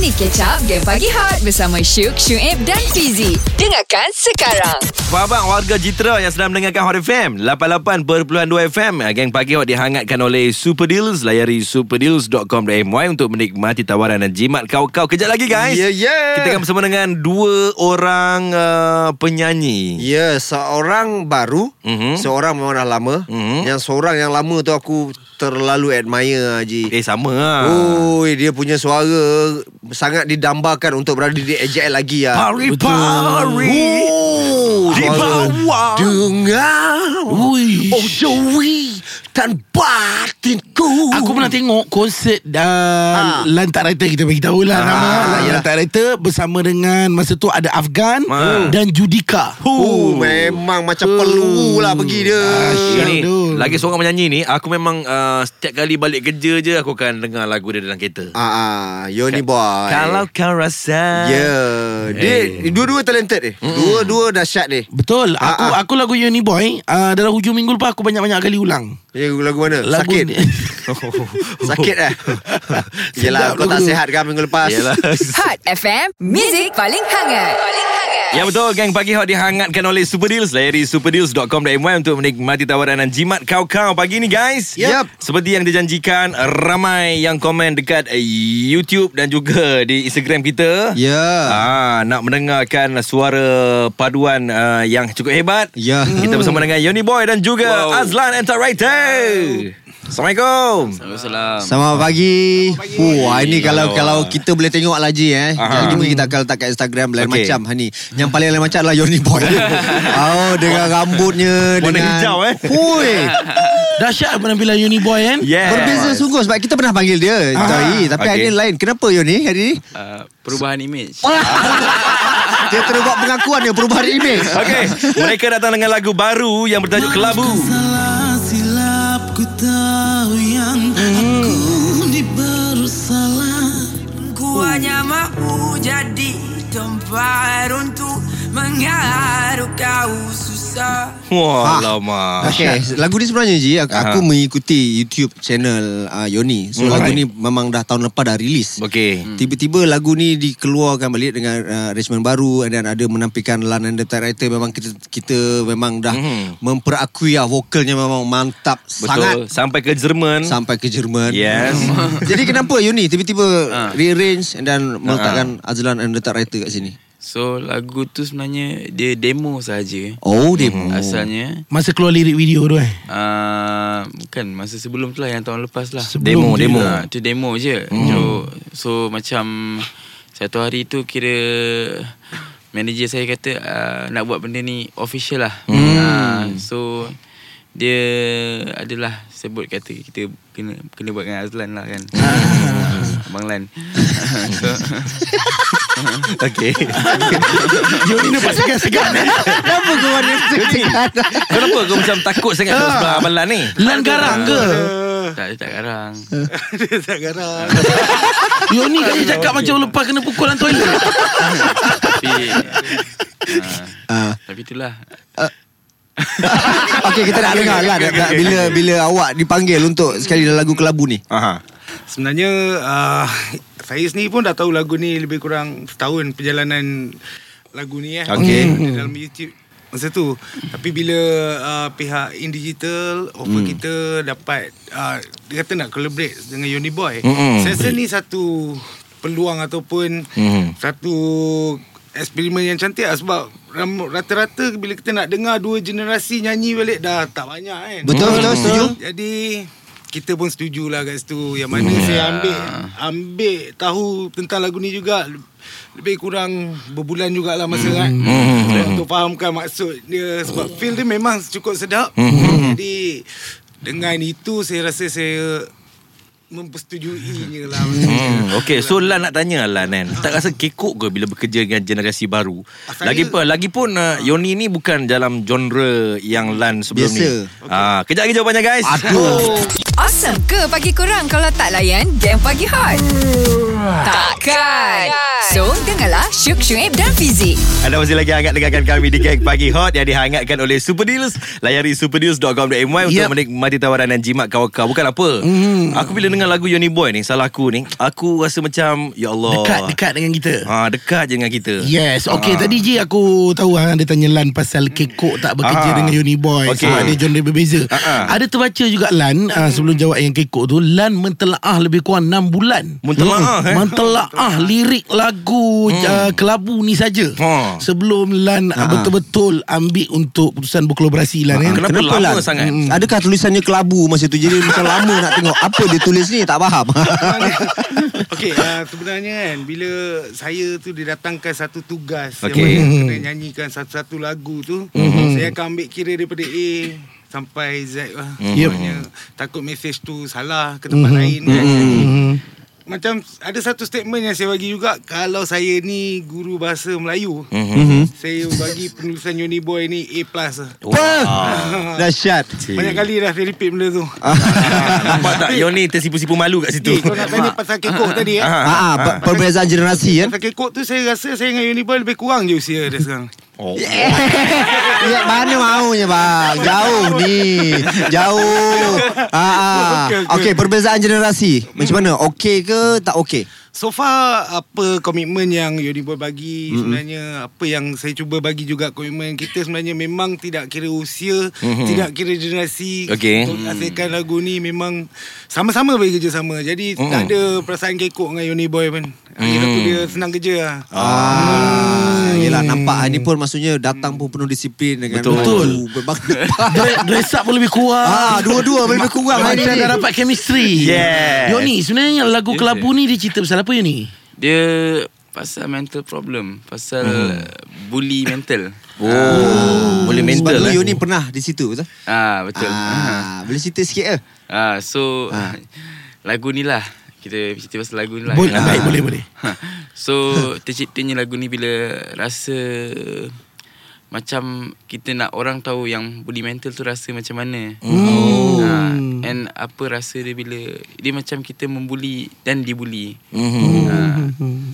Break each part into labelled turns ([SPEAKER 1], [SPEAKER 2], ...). [SPEAKER 1] Mari catch up Game Pagi Hot Bersama Syuk, Syuib dan Fizi Dengarkan sekarang
[SPEAKER 2] Abang-abang warga Jitra yang sedang mendengarkan Hot FM 88.2 FM Ah, Geng Pagi Hot dihangatkan oleh Super Deals Layari superdeals.com.my Untuk menikmati tawaran dan jimat kau-kau Kejap lagi guys
[SPEAKER 3] Ya, ya.
[SPEAKER 2] Kita akan bersama dengan dua orang uh, penyanyi
[SPEAKER 3] Ya, seorang baru,
[SPEAKER 2] Mhm.
[SPEAKER 3] mm-hmm. seorang memang dah lama.
[SPEAKER 2] Mhm.
[SPEAKER 3] Mm-hmm. Yang seorang yang lama tu aku terlalu admire Haji.
[SPEAKER 2] Eh sama lah
[SPEAKER 3] Oh, dia punya suara sangat didambakan untuk berada di AJL lagi ya.
[SPEAKER 2] Pari-pari
[SPEAKER 3] Oh,
[SPEAKER 2] Di
[SPEAKER 3] suara
[SPEAKER 2] bawah.
[SPEAKER 3] Dengar.
[SPEAKER 4] Ui.
[SPEAKER 3] Oh, Joey dan batinku.
[SPEAKER 4] Aku pernah tengok konsert uh, ha.
[SPEAKER 3] Uh. Ah.
[SPEAKER 4] Lantak Writer kita bagi tahu lah
[SPEAKER 2] Ah,
[SPEAKER 4] nama
[SPEAKER 3] ah,
[SPEAKER 4] Lantak Writer bersama dengan masa tu ada Afgan
[SPEAKER 2] Ah.
[SPEAKER 4] dan Judika.
[SPEAKER 3] Oh, memang macam perlu lah pergi dia.
[SPEAKER 2] Ah,
[SPEAKER 4] Asyik.
[SPEAKER 2] Ni,
[SPEAKER 4] Aduh.
[SPEAKER 2] lagi seorang penyanyi ni Aku memang uh, Setiap kali balik kerja je Aku akan dengar lagu dia dalam kereta
[SPEAKER 3] Ah, ah, Yoni boy.
[SPEAKER 2] Kalau kau rasa
[SPEAKER 3] Ya yeah. Dia Dua-dua talented ni mm. Dua-dua dahsyat ni
[SPEAKER 4] Betul. Aku
[SPEAKER 3] Ah, ah.
[SPEAKER 4] aku lagu Uni Boy uh, dalam hujung minggu lepas aku banyak-banyak kali ulang.
[SPEAKER 3] Ya lagu mana?
[SPEAKER 4] Lagu
[SPEAKER 3] Sakit
[SPEAKER 4] ni.
[SPEAKER 3] Sakit eh Yelah
[SPEAKER 4] Sedap
[SPEAKER 3] kau tak
[SPEAKER 4] lagu.
[SPEAKER 3] sihat kan minggu lepas
[SPEAKER 2] Yelah
[SPEAKER 1] Hot FM Music paling hangat Paling hangat
[SPEAKER 2] Ya betul Gang Pagi Hot dihangatkan oleh Super Deals Layari superdeals.com.my Untuk menikmati tawaran dan jimat kau-kau Pagi ni guys
[SPEAKER 3] Yap.
[SPEAKER 2] Seperti yang dijanjikan Ramai yang komen dekat eh, YouTube Dan juga di Instagram kita
[SPEAKER 3] Ya
[SPEAKER 2] Ah, nak mendengarkan suara paduan uh, yang cukup hebat.
[SPEAKER 3] Ya.
[SPEAKER 2] Kita bersama dengan Yoni Boy dan juga wow. Azlan Antarwriter. Assalamualaikum.
[SPEAKER 3] Selamat pagi. Oh, hari ni kalau kalau kita boleh tengok lah Ji eh.
[SPEAKER 2] Aha.
[SPEAKER 3] Jadi mungkin kita akan letak kat Instagram lain
[SPEAKER 2] Okey.
[SPEAKER 3] macam hari ni. Yang paling lain macam adalah Yoni Boy. oh, dengan rambutnya
[SPEAKER 2] Warna
[SPEAKER 3] dengan
[SPEAKER 2] hijau, eh.
[SPEAKER 3] Hui.
[SPEAKER 4] Dahsyat penampilan Uni Boy kan? Ah.
[SPEAKER 2] Yeah.
[SPEAKER 3] Berbeza sungguh sebab kita pernah panggil dia Joy, tapi hari
[SPEAKER 2] Okey.
[SPEAKER 3] ni lain. Kenapa Yoni hari ni?
[SPEAKER 5] Uh, perubahan image.
[SPEAKER 3] Dia terus buat pengakuan dia perubahan imej.
[SPEAKER 2] Okey, mereka datang dengan lagu baru yang bertajuk Kelabu.
[SPEAKER 6] Salah silap ku tahu yang aku ni bersalah
[SPEAKER 7] Ku hanya mahu jadi tempat untuk mengaruh kau susah.
[SPEAKER 2] Wah,
[SPEAKER 3] Ah.
[SPEAKER 2] lama.
[SPEAKER 3] Okay, lagu ni sebenarnya Ji aku,
[SPEAKER 2] Aha.
[SPEAKER 3] aku mengikuti YouTube channel uh, Yoni. So
[SPEAKER 2] Hmm.
[SPEAKER 3] hmm. lagu
[SPEAKER 2] Alright. Hmm.
[SPEAKER 3] ni memang dah tahun lepas dah rilis.
[SPEAKER 2] Okey.
[SPEAKER 3] Tiba-tiba lagu ni dikeluarkan balik dengan uh, arrangement baru dan ada menampilkan Lan and the Typewriter memang kita kita memang dah
[SPEAKER 2] Hmm.
[SPEAKER 3] memperakui lah vokalnya memang mantap Betul. sangat
[SPEAKER 2] Betul. Sampai ke Jerman.
[SPEAKER 3] Hmm? sampai ke Jerman.
[SPEAKER 2] Yes. Ha.
[SPEAKER 3] Jadi kenapa Yoni tiba-tiba rearrange dan meletakkan Azlan and the Typewriter kat sini?
[SPEAKER 5] So lagu tu sebenarnya dia demo saja.
[SPEAKER 3] Oh, demo.
[SPEAKER 5] Asalnya
[SPEAKER 4] Masa keluar lirik video tu eh.
[SPEAKER 5] uh, bukan masa sebelum tu lah yang tahun lepas lah.
[SPEAKER 2] Demo,
[SPEAKER 4] Sebelum
[SPEAKER 2] demo.
[SPEAKER 5] Ah, tu demo je. Hmm. So, so macam satu hari tu kira manager saya kata uh, nak buat benda ni official lah. Hmm. Uh, so dia adalah sebut kata kita kena kena buat dengan Azlan lah kan. Abang Lan. so,
[SPEAKER 2] Okey.
[SPEAKER 4] Uni nampak segan-segan.
[SPEAKER 3] Kenapa kau ada segan?
[SPEAKER 2] Kenapa kau macam takut sangat
[SPEAKER 3] Ah.
[SPEAKER 2] kat sebelah amalan ni?
[SPEAKER 4] Lan garang ke?
[SPEAKER 5] tak dia tak garang.
[SPEAKER 4] Yoni kaya cakap macam lepas kena pukul dalam toilet.
[SPEAKER 5] tapi
[SPEAKER 3] Ah.
[SPEAKER 5] uh, tapi itulah.
[SPEAKER 3] Okey kita nak dengar lah nak- nak- bila bila awak dipanggil untuk sekali dalam lagu kelabu ni.
[SPEAKER 2] Aha.
[SPEAKER 8] Sebenarnya uh, saya sendiri pun dah tahu lagu ni lebih kurang setahun perjalanan lagu ni eh.
[SPEAKER 2] Okey.
[SPEAKER 8] Di Dalam YouTube masa tu. Tapi bila uh, pihak In Digital offer kita dapat uh, dia kata nak collaborate dengan Yoni Boy.
[SPEAKER 2] Mm-mm.
[SPEAKER 8] Saya rasa ni satu peluang ataupun
[SPEAKER 2] Mm.
[SPEAKER 8] satu eksperimen yang cantik lah sebab ram- rata-rata bila kita nak dengar dua generasi nyanyi balik dah tak banyak kan.
[SPEAKER 3] Betul betul setuju?
[SPEAKER 8] Jadi kita pun setuju lah kat situ Yang mana yeah. saya ambil Ambil tahu tentang lagu ni juga Lebih kurang berbulan jugalah masa mm. kan mm. Untuk fahamkan maksud dia Sebab feel dia memang cukup sedap mm. Jadi dengan itu saya rasa saya Mempersetujuinya lah
[SPEAKER 2] Hmm, okay, so Lan nak tanya Lan kan. Tak rasa kekok ke bila bekerja dengan generasi baru?
[SPEAKER 8] Saya-
[SPEAKER 2] Lagipun lagipun
[SPEAKER 3] Ah.
[SPEAKER 2] uh, Yoni ni bukan dalam genre yang Lan sebelum
[SPEAKER 3] Biasa.
[SPEAKER 2] ni. Ah, kejap lagi jawapannya guys.
[SPEAKER 3] Aduh.
[SPEAKER 1] Awesome ke pagi korang Kalau tak layan Game Pagi Hot Takkan So dengar Janganlah syuk, syuib dan fizik.
[SPEAKER 2] Anda masih lagi hangat dengarkan kami di Gang Pagi Hot yang dihangatkan oleh Super Deals. Layari superdeals.com.my yep. untuk
[SPEAKER 4] Yep.
[SPEAKER 2] menikmati tawaran dan jimat kawan-kawan. Bukan apa. Aku bila dengar lagu Yoni Boy ni, salah aku ni, aku rasa macam, Ya Allah.
[SPEAKER 4] Dekat dekat dengan kita.
[SPEAKER 2] Ha, dekat je dengan kita.
[SPEAKER 4] Yes
[SPEAKER 2] Ah.
[SPEAKER 4] Okay tadi je aku tahu hang Ada tanya Lan pasal Kekok tak bekerja
[SPEAKER 2] Ah.
[SPEAKER 4] dengan Uniboy
[SPEAKER 2] Okey.
[SPEAKER 4] okay. Dia genre berbeza
[SPEAKER 2] Ah, ah.
[SPEAKER 4] Ada terbaca juga Lan ah, Sebelum jawab yang Kekok tu Lan mentelaah lebih kurang 6 bulan Hmm.
[SPEAKER 2] Mentelaah, eh? Hmm.
[SPEAKER 4] Mentelaah lirik lagu ah, Kelabu ni saja
[SPEAKER 2] Ha.
[SPEAKER 4] Sebelum Lan ah, betul-betul ambil untuk putusan berkolaborasi Lan kan?
[SPEAKER 2] Ah, Kenapa,
[SPEAKER 3] Kenapa
[SPEAKER 2] lama
[SPEAKER 3] lah?
[SPEAKER 2] sangat?
[SPEAKER 3] Hmm. Adakah tulisannya kelabu masa tu Jadi macam lama nak tengok Apa dia tulis ni Tak faham
[SPEAKER 8] Okey, uh, sebenarnya kan bila saya tu didatangkan satu tugas
[SPEAKER 2] Okey. Mhm.
[SPEAKER 8] yang mana kena nyanyikan satu-satu lagu tu, mm-hmm. saya akan ambil kira daripada A sampai Z lah.
[SPEAKER 2] Mhm.
[SPEAKER 4] Yep.
[SPEAKER 8] Maknanya
[SPEAKER 2] Ya.
[SPEAKER 8] takut mesej tu salah ke tempat mm-hmm. lain kan.
[SPEAKER 2] Mhm.
[SPEAKER 4] Hmm.
[SPEAKER 8] Macam ada satu statement yang saya bagi juga kalau saya ni guru bahasa Melayu,
[SPEAKER 2] Mhm.
[SPEAKER 8] saya bagi penulisan Yoni Boy ni A+. lah.
[SPEAKER 3] Wah. Dahsyat
[SPEAKER 8] Banyak kali dah saya repeat benda tu.
[SPEAKER 2] Ah. Nampak tak Yoni tersipu-sipu malu kat situ?
[SPEAKER 8] Eh, kau nak tanya pasal kekok tadi eh?
[SPEAKER 2] Ah,
[SPEAKER 3] Ah, ah, per- perbezaan generasi kan
[SPEAKER 8] Pasal kekok tu saya rasa saya dengan Yoni Boy lebih kurang je usia dia sekarang.
[SPEAKER 2] Oh.
[SPEAKER 3] ya, Mana maunya bang Jauh ni Jauh ah, ah.
[SPEAKER 8] Okey, okey.
[SPEAKER 3] Okey perbezaan generasi Macam mana Okey ke tak okey
[SPEAKER 8] So far apa komitmen yang Uniboy bagi mm-hmm. sebenarnya apa yang saya cuba bagi juga komitmen kita sebenarnya memang tidak kira usia, mm-hmm. tidak kira generasi.
[SPEAKER 2] Okey.
[SPEAKER 8] Untuk hasilkan lagu ni memang sama-sama bagi kerjasama. Jadi mm-hmm. tak ada perasaan kekok dengan Uniboy pun. Akhir aku dia senang kerja lah.
[SPEAKER 3] Ah, yelah nampak ni pun maksudnya datang pun penuh disiplin dengan
[SPEAKER 2] Betul.
[SPEAKER 3] baju berbang depan.
[SPEAKER 4] Dre- Dress up pun lebih kurang
[SPEAKER 3] ah, dua-dua lebih kurang hari ni.
[SPEAKER 4] Macam
[SPEAKER 2] lah.
[SPEAKER 4] dah dapat chemistry
[SPEAKER 2] Yes.
[SPEAKER 4] Yoni sebenarnya lagu Kelabu ni Dia cerita pasal apa Yoni?
[SPEAKER 5] Dia pasal mental problem, pasal bully mental.
[SPEAKER 2] Oh. Boleh
[SPEAKER 3] Sebab
[SPEAKER 2] mental
[SPEAKER 3] dulu
[SPEAKER 2] lah. Ha.
[SPEAKER 3] Yoni pernah di situ betul?
[SPEAKER 5] Ah betul. Ah,
[SPEAKER 3] Ah, boleh cerita sikit ke?
[SPEAKER 5] ah so lagu ni lah kita cerita pasal lagu ni lah.
[SPEAKER 4] Boleh,
[SPEAKER 5] Ah.
[SPEAKER 4] baik, boleh, boleh.
[SPEAKER 5] Ha. So terciptanya lagu ni bila rasa macam kita nak orang tahu yang bully mental tu rasa macam mana. Oh. Ha, and apa rasa dia bila dia macam kita membuli dan dibuli. Mm-hmm. Ha,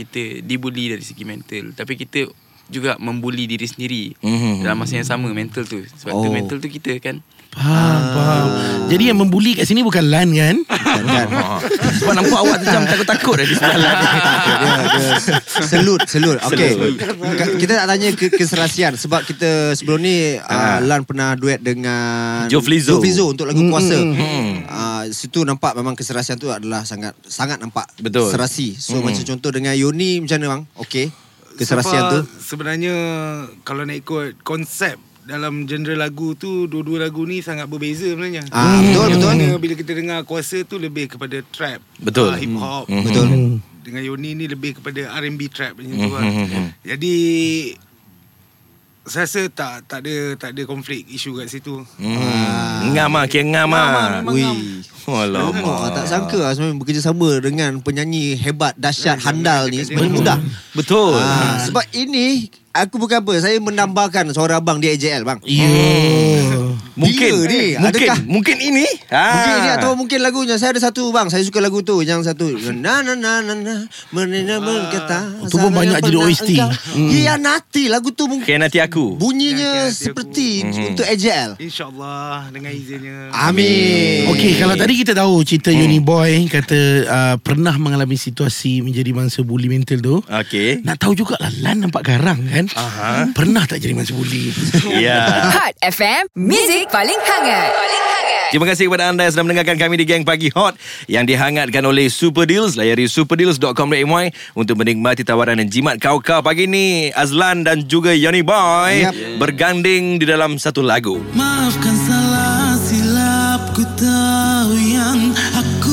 [SPEAKER 5] kita dibuli dari segi mental tapi kita juga membuli diri sendiri mm-hmm. dalam masa yang sama mental tu. Sebab oh. tu
[SPEAKER 3] Oh.
[SPEAKER 5] mental tu kita kan
[SPEAKER 4] Faham, faham. Ah. Jadi yang membuli kat sini bukan Lan kan?
[SPEAKER 3] Kan, kan.
[SPEAKER 2] Ha. Sebab nampak awak macam takut-takut dah di sebelah lah.
[SPEAKER 3] dia, dia, selut, selut. Okey. Ka- Kita nak tanya ke keserasian sebab kita sebelum ni uh, Lan pernah duet dengan
[SPEAKER 2] Joe Flizzo.
[SPEAKER 3] Joe Flizzo untuk lagu Kuasa. Uh, situ nampak memang keserasian tu adalah sangat sangat nampak
[SPEAKER 2] Betul.
[SPEAKER 3] serasi. So macam contoh dengan Yoni macam mana bang? Okey. Keserasian
[SPEAKER 8] Sebab Hmm.
[SPEAKER 3] tu.
[SPEAKER 8] Sebenarnya kalau nak ikut konsep dalam genre lagu tu dua-dua lagu ni sangat berbeza sebenarnya.
[SPEAKER 3] Ah, betul,
[SPEAKER 8] Yang
[SPEAKER 3] betul.
[SPEAKER 8] mana bila kita dengar kuasa tu lebih kepada trap,
[SPEAKER 2] Betul.
[SPEAKER 8] ah, hip hop.
[SPEAKER 2] Hmm.
[SPEAKER 3] Betul. Mm-hmm.
[SPEAKER 8] Dengan Yoni ni lebih kepada R&B trap punya
[SPEAKER 2] Hmm,
[SPEAKER 8] tu. lah.
[SPEAKER 2] hmm, hmm.
[SPEAKER 8] Jadi saya rasa tak tak ada tak ada konflik isu kat situ.
[SPEAKER 2] Hmm. Ngam ah, kira ngam ah.
[SPEAKER 3] Wih. Lama
[SPEAKER 2] Alamak.
[SPEAKER 3] ah, tak sangka lah sebenarnya bekerjasama dengan penyanyi hebat dahsyat handal ni sebenarnya mudah.
[SPEAKER 2] Betul.
[SPEAKER 3] Ah, sebab ini aku bukan apa, saya menambahkan suara abang di AJL bang.
[SPEAKER 2] Mungkin
[SPEAKER 3] Gila ni,
[SPEAKER 2] mungkin
[SPEAKER 3] adakah-
[SPEAKER 2] mungkin ini. Ha.
[SPEAKER 3] Mungkin ini atau mungkin lagunya Saya ada satu bang Saya suka lagu tu Yang satu Na na na na na Menena berkata
[SPEAKER 4] tu pun banyak jadi OST.
[SPEAKER 3] hmm. Hianati Lagu tu mungkin
[SPEAKER 2] Kianati aku.
[SPEAKER 3] Bunyinya
[SPEAKER 8] Hianati aku.
[SPEAKER 3] seperti Untuk AJL
[SPEAKER 8] InsyaAllah dengan izinnya.
[SPEAKER 3] Amin
[SPEAKER 4] Okey, kalau tadi kita tahu cerita hmm. Uni Boy kata uh, pernah mengalami situasi menjadi mangsa bully mental tu.
[SPEAKER 2] Okey.
[SPEAKER 4] Nak tahu jugalah Lan nampak garang kan? Aha. Pernah tak jadi mangsa bully?
[SPEAKER 2] Ya.
[SPEAKER 1] Hot FM, Music paling hangat. Paling hangat.
[SPEAKER 2] Terima kasih kepada anda yang sedang mendengarkan kami di Gang Pagi Hot yang dihangatkan oleh Super Deals. Layari superdeals.com.my untuk menikmati tawaran dan jimat kau-kau. Pagi ni Azlan dan juga Yoni Boy
[SPEAKER 3] Yap.
[SPEAKER 2] berganding di dalam satu lagu.
[SPEAKER 6] Maafkan salah silap ku tahu yang aku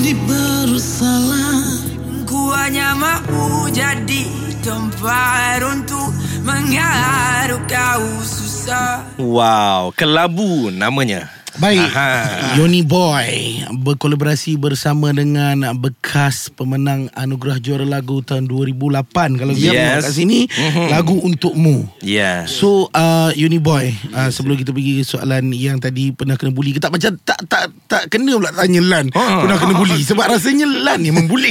[SPEAKER 6] ni bersalah
[SPEAKER 7] Ku hanya mahu jadi tempat untuk mengharu kau susah
[SPEAKER 2] Wow, Kelabu namanya.
[SPEAKER 4] Baik,
[SPEAKER 2] Aha.
[SPEAKER 4] Yoni Boy berkolaborasi bersama dengan bekas pemenang anugerah juara lagu tahun 2008 kalau yes.
[SPEAKER 2] Yes.
[SPEAKER 4] kat sini
[SPEAKER 2] Mhm.
[SPEAKER 4] lagu untukmu.
[SPEAKER 2] Yeah.
[SPEAKER 4] So uh, Uni Boy uh, Sebelum kita pergi ke soalan Yang tadi pernah kena bully ke tak Macam tak tak tak kena pula tanya Lan
[SPEAKER 2] Ha.
[SPEAKER 4] Pernah kena bully Sebab rasanya Lan yang membuli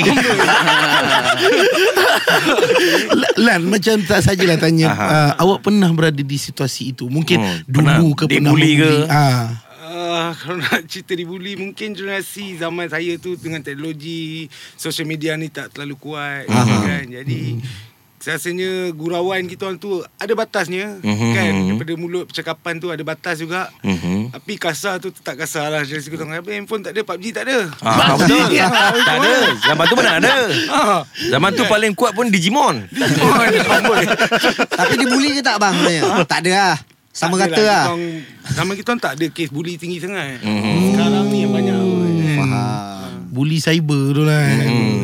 [SPEAKER 4] Lan macam tak sajalah tanya
[SPEAKER 2] Aha.
[SPEAKER 4] uh, Awak pernah berada di situasi itu Mungkin
[SPEAKER 2] Hmm,
[SPEAKER 4] hmm, dulu
[SPEAKER 2] pernah
[SPEAKER 4] ke pernah
[SPEAKER 2] dibuli ke?
[SPEAKER 4] Ah.
[SPEAKER 8] Ah, kalau nak cerita dibuli Mungkin generasi zaman saya tu Dengan teknologi Social media ni tak terlalu kuat
[SPEAKER 3] Aha.
[SPEAKER 8] kan? Jadi Rasanya gurauan kita orang tu Ada batasnya
[SPEAKER 2] Mhm.
[SPEAKER 8] kan Daripada mulut percakapan tu Ada batas juga
[SPEAKER 2] Mhm.
[SPEAKER 8] Tapi kasar tu tetap kasar lah Generasi kita orang Apa handphone tak ada PUBG tak ada
[SPEAKER 2] Ah, betul. tak ada. Zaman tu mana ada. Zaman tu paling kuat pun Digimon.
[SPEAKER 3] Tapi dibuli ke tak bang? sebenarnya? tak ada lah. Sama
[SPEAKER 8] Tak
[SPEAKER 3] rata
[SPEAKER 8] adalah,
[SPEAKER 3] lah. Hmm.
[SPEAKER 8] kita orang- Zaman kita orang tak ada Kes bully tinggi sangat Sekarang ni yang banyak
[SPEAKER 3] Faham.
[SPEAKER 4] Bully cyber tu lah hmm.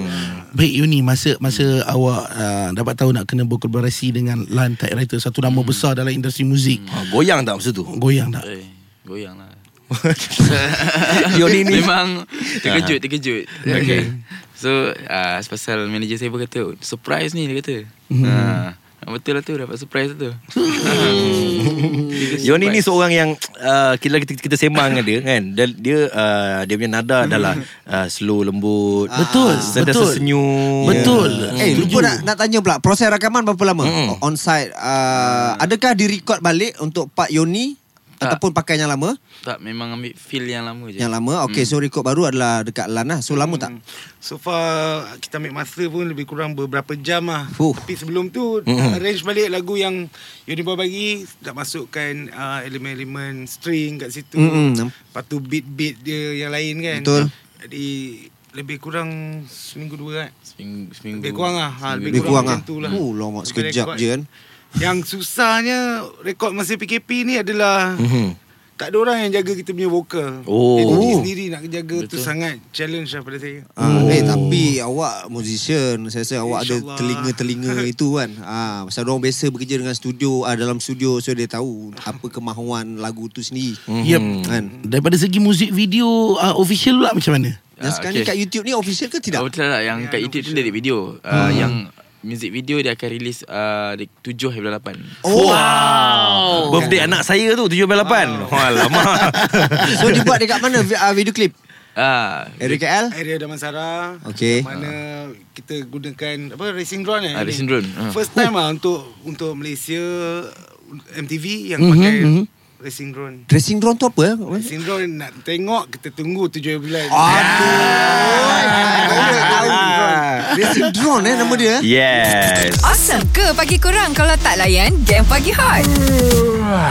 [SPEAKER 4] Baik Yuni Masa masa awak uh, Dapat tahu nak kena berkolaborasi Dengan Lan Typewriter Satu nama hmm. besar dalam industri muzik
[SPEAKER 2] Ah, Goyang tak masa tu?
[SPEAKER 4] Goyang tak?
[SPEAKER 5] Eh, goyang lah.
[SPEAKER 2] Yoni ni.
[SPEAKER 5] Memang terkejut, terkejut. Okay. So, uh, pasal manager saya pun kata, "Oh, surprise ni dia kata. Hmm. betul lah tu, dapat surprise tu.
[SPEAKER 2] Yoni ni seorang yang uh, kita kita, kita sembang dengan dia kan. Dia dia, uh, dia punya nada adalah
[SPEAKER 3] Hmm.
[SPEAKER 2] uh, slow lembut.
[SPEAKER 4] Betul,
[SPEAKER 2] Sentiasa
[SPEAKER 4] betul.
[SPEAKER 2] senyum.
[SPEAKER 4] Betul
[SPEAKER 2] Hmm.
[SPEAKER 3] Eh lupa nak, nak tanya pula Proses rakaman berapa lama mm. On site uh, Adakah direkod balik Untuk Pak Yoni
[SPEAKER 2] Ah.
[SPEAKER 5] Tak.
[SPEAKER 3] Ataupun pakai yang lama
[SPEAKER 5] Tak, memang ambil feel yang lama je.
[SPEAKER 3] Yang lama
[SPEAKER 2] Hmm.
[SPEAKER 3] Okay so rekod baru adalah Dekat LAN lah So lama tak
[SPEAKER 8] Hmm. So far kita ambil masa pun lebih kurang beberapa jam lah.
[SPEAKER 3] Fuh. Hmm.
[SPEAKER 8] Tapi sebelum tu mm arrange balik lagu yang Uniboy bagi, dah masukkan uh, elemen-elemen string kat situ.
[SPEAKER 3] Mm-mm.
[SPEAKER 8] Lepas tu beat-beat dia yang lain kan.
[SPEAKER 3] Hmm, Betul.
[SPEAKER 8] Jadi lebih kurang seminggu dua kan.
[SPEAKER 5] Seminggu, seminggu. Ah,
[SPEAKER 8] Lebih kurang lah. Ha,
[SPEAKER 5] Seminggu.
[SPEAKER 8] lebih,
[SPEAKER 3] Lebih kurang
[SPEAKER 8] kurang
[SPEAKER 3] lah
[SPEAKER 8] macam tu lah.
[SPEAKER 3] Oh lama
[SPEAKER 8] Sampai
[SPEAKER 3] sekejap
[SPEAKER 8] rekod.
[SPEAKER 3] je kan
[SPEAKER 8] Yang susahnya rekod masa PKP ni adalah
[SPEAKER 3] Mhm.
[SPEAKER 8] mm tak ada orang yang jaga kita punya vokal.
[SPEAKER 2] Oh.
[SPEAKER 8] Jadi diri sendiri nak jaga tu sangat challenge lah pada saya.
[SPEAKER 3] Ah, oh. eh, tapi awak musician Saya rasa awak ada
[SPEAKER 8] InsyaAllah.
[SPEAKER 3] telinga-telinga itu kan ah, Pasal orang biasa bekerja dengan studio ah, Dalam studio So dia tahu Apa kemahuan lagu tu sendiri
[SPEAKER 4] Yep.
[SPEAKER 3] Kan
[SPEAKER 4] Daripada segi muzik video uh, official pula macam mana?
[SPEAKER 3] Dan
[SPEAKER 5] Ah,
[SPEAKER 3] sekarang ni
[SPEAKER 5] okay.
[SPEAKER 3] kat YouTube ni official ke tidak?
[SPEAKER 5] Tidak. Oh, betul lah. Yang kat YouTube tu dari video. Uh, Yang music video dia akan release uh, di 7 hari bulan 8.
[SPEAKER 3] Oh,
[SPEAKER 2] Wow. Oh. Birthday
[SPEAKER 3] Kan?
[SPEAKER 2] anak saya tu 78. Wow.
[SPEAKER 3] Ah.
[SPEAKER 2] Alamak.
[SPEAKER 3] So dibuat dekat mana vi- ah, video clip?
[SPEAKER 5] Ah,
[SPEAKER 3] Area KL?
[SPEAKER 8] Area Damansara
[SPEAKER 3] Okey.
[SPEAKER 8] Mana kita gunakan Apa Racing Drone eh
[SPEAKER 5] Ah, racing drone, ah.
[SPEAKER 8] First time lah Untuk Untuk Malaysia MTV Yang
[SPEAKER 3] Mhm,
[SPEAKER 8] mm-hmm, pakai mm-hmm. Racing drone
[SPEAKER 3] Dressing drone tu apa? eh?
[SPEAKER 8] Racing drone Nak tengok Kita tunggu tujuh bulan
[SPEAKER 3] Ah, Dressing drone eh nama dia. eh?
[SPEAKER 2] yes.
[SPEAKER 1] Awesome ke pagi korang kalau tak layan game pagi hot?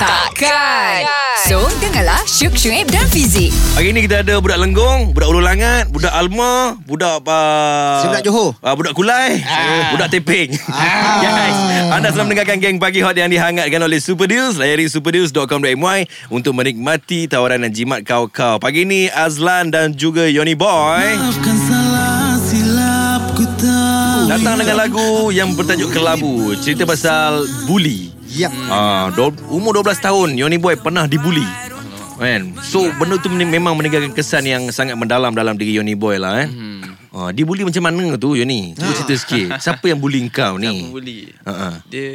[SPEAKER 1] Takkan. So, dengarlah Syuk, Syuib dan Fizik.
[SPEAKER 2] Hari ni kita ada budak Lenggong, budak Ulu Langat, budak Alma, budak uh,
[SPEAKER 3] Sebelah Johor.
[SPEAKER 2] Uh, budak Kulai, budak Teping. Guys, anda sedang mendengarkan Geng Pagi Hot yang dihangatkan oleh Super Deals. Layari superdeals.com.my untuk menikmati tawaran dan jimat kau-kau. Pagi ni Azlan dan juga Yoni Boy
[SPEAKER 6] Maafkan salah silap ku tahu
[SPEAKER 2] datang dengan lagu yang bertajuk Kelabu. Cerita pasal bully.
[SPEAKER 3] Yap.
[SPEAKER 2] Ah, do- umur 12 tahun Yoni Boy pernah dibuli. Kan? So benda tu men- memang meninggalkan kesan yang sangat mendalam dalam diri Yoni Boy lah eh. Hmm. Ah, dia bully macam mana tu Yoni? Cuba cerita sikit. Siapa yang bully kau
[SPEAKER 5] Siapa
[SPEAKER 2] ni?
[SPEAKER 5] bully
[SPEAKER 2] Eh. Ha-ha.
[SPEAKER 5] Dia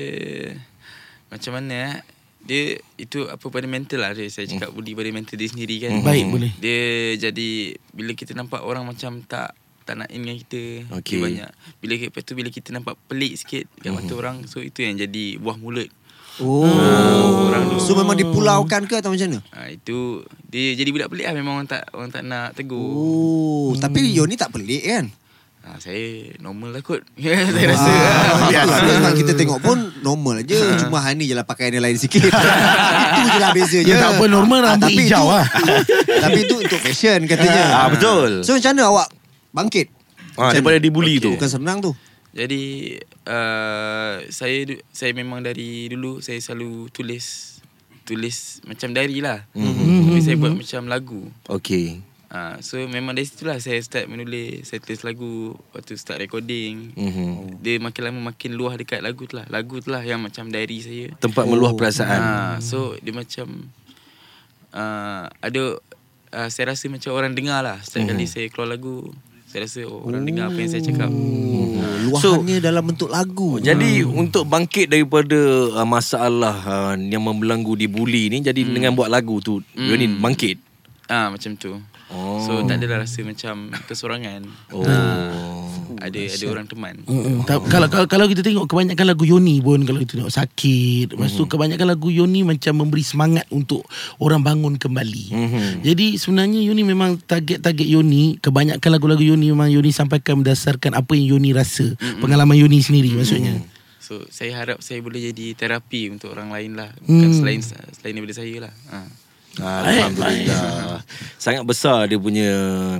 [SPEAKER 5] Macam mana eh Dia Itu apa pada mental lah dia. Saya
[SPEAKER 2] Hmm.
[SPEAKER 5] cakap bully pada mental dia sendiri kan
[SPEAKER 4] Baik, boleh.
[SPEAKER 5] Dia jadi Bila kita nampak orang macam tak Tak nak in dengan kita
[SPEAKER 2] Okey. Hmm.
[SPEAKER 5] dia Banyak Bila Lepas tu bila kita nampak pelik sikit Dekat mata orang So itu yang jadi Buah mulut
[SPEAKER 3] Oh. So memang dipulaukan ke atau macam mana?
[SPEAKER 5] ha, Itu Dia jadi budak pelik lah Memang orang tak Orang tak nak tegur
[SPEAKER 3] Oh, tapi Yoni tak pelik kan?
[SPEAKER 5] ha, Saya normal lah kot Saya rasa lah.
[SPEAKER 3] Ah, betul. Sebab kita tengok pun normal je. Cuma Hani je lah pakaian dia lain sikit. itu je lah bezanya.
[SPEAKER 4] Ya, tak apa, normal
[SPEAKER 3] Ah,
[SPEAKER 4] rambut
[SPEAKER 3] tapi
[SPEAKER 4] hijau
[SPEAKER 3] itu-
[SPEAKER 4] lah.
[SPEAKER 3] tapi itu untuk fashion katanya.
[SPEAKER 2] Ah, betul.
[SPEAKER 3] So macam mana awak bangkit?
[SPEAKER 2] Ah, daripada dibuli
[SPEAKER 3] okay.
[SPEAKER 2] tu.
[SPEAKER 3] Bukan senang tu.
[SPEAKER 5] Jadi uh, saya du- saya memang dari dulu saya selalu tulis tulis macam diary lah. Mm-hmm. Tapi saya buat macam lagu.
[SPEAKER 2] Okey.
[SPEAKER 5] Uh, so memang dari situ lah saya start menulis, saya tulis lagu, lepas tu start recording.
[SPEAKER 2] Mhm.
[SPEAKER 5] Dia makin lama makin luah dekat lagu tu lah. Lagu tu lah yang macam diary saya.
[SPEAKER 2] Tempat meluah perasaan.
[SPEAKER 5] Ha, so dia macam uh, ada uh, saya rasa macam orang dengar lah. Setiap kali saya keluar lagu, saya rasa oh, orang dengar apa yang saya cakap.
[SPEAKER 3] Oh, luahannya so, dalam bentuk lagu.
[SPEAKER 2] Jadi untuk bangkit daripada uh, masalah uh, yang membelenggu dibuli ni jadi dengan buat lagu tu hmm. ni bangkit.
[SPEAKER 5] Ah macam tu.
[SPEAKER 2] Oh.
[SPEAKER 5] So tak adalah rasa macam kesorangan.
[SPEAKER 2] Oh.
[SPEAKER 5] Ada ada orang teman.
[SPEAKER 4] Mm-mm. Ta- Kalau, kalau kalau kita tengok kebanyakan lagu Yoni pun kalau kita tengok sakit, lepas
[SPEAKER 3] Mm.
[SPEAKER 4] tu kebanyakan lagu Yoni macam memberi semangat untuk orang bangun kembali.
[SPEAKER 3] Mm-hmm.
[SPEAKER 4] Jadi sebenarnya Yoni memang target-target Yoni, kebanyakan lagu-lagu Yoni memang Yoni sampaikan berdasarkan apa yang Yoni rasa, pengalaman Yoni sendiri maksudnya.
[SPEAKER 5] So saya harap saya boleh jadi terapi untuk orang lain lah. Bukan
[SPEAKER 4] Hmm.
[SPEAKER 5] selain selain daripada saya lah. Ha.
[SPEAKER 2] Ah, Alhamdulillah. Eh, Sangat besar dia punya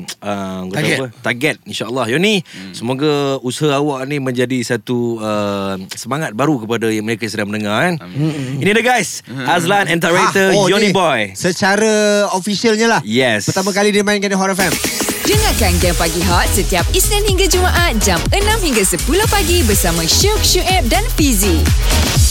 [SPEAKER 2] uh,
[SPEAKER 4] Target.
[SPEAKER 2] target. Apa? target insyaallah. Yoni, hmm. semoga usaha awak ni menjadi satu uh, semangat baru kepada yang mereka sedang mendengar kan. Amin. Ini dia guys, Azlan and Tarator
[SPEAKER 3] Ah, oh,
[SPEAKER 2] Yoni
[SPEAKER 3] ni.
[SPEAKER 2] Boy.
[SPEAKER 3] Secara officialnya lah.
[SPEAKER 2] Yes.
[SPEAKER 3] Pertama kali dia mainkan di Hot FM.
[SPEAKER 1] Dengarkan Game Pagi Hot setiap Isnin hingga Jumaat jam 6 hingga 10 pagi bersama Syuk, Syuib dan Fizi.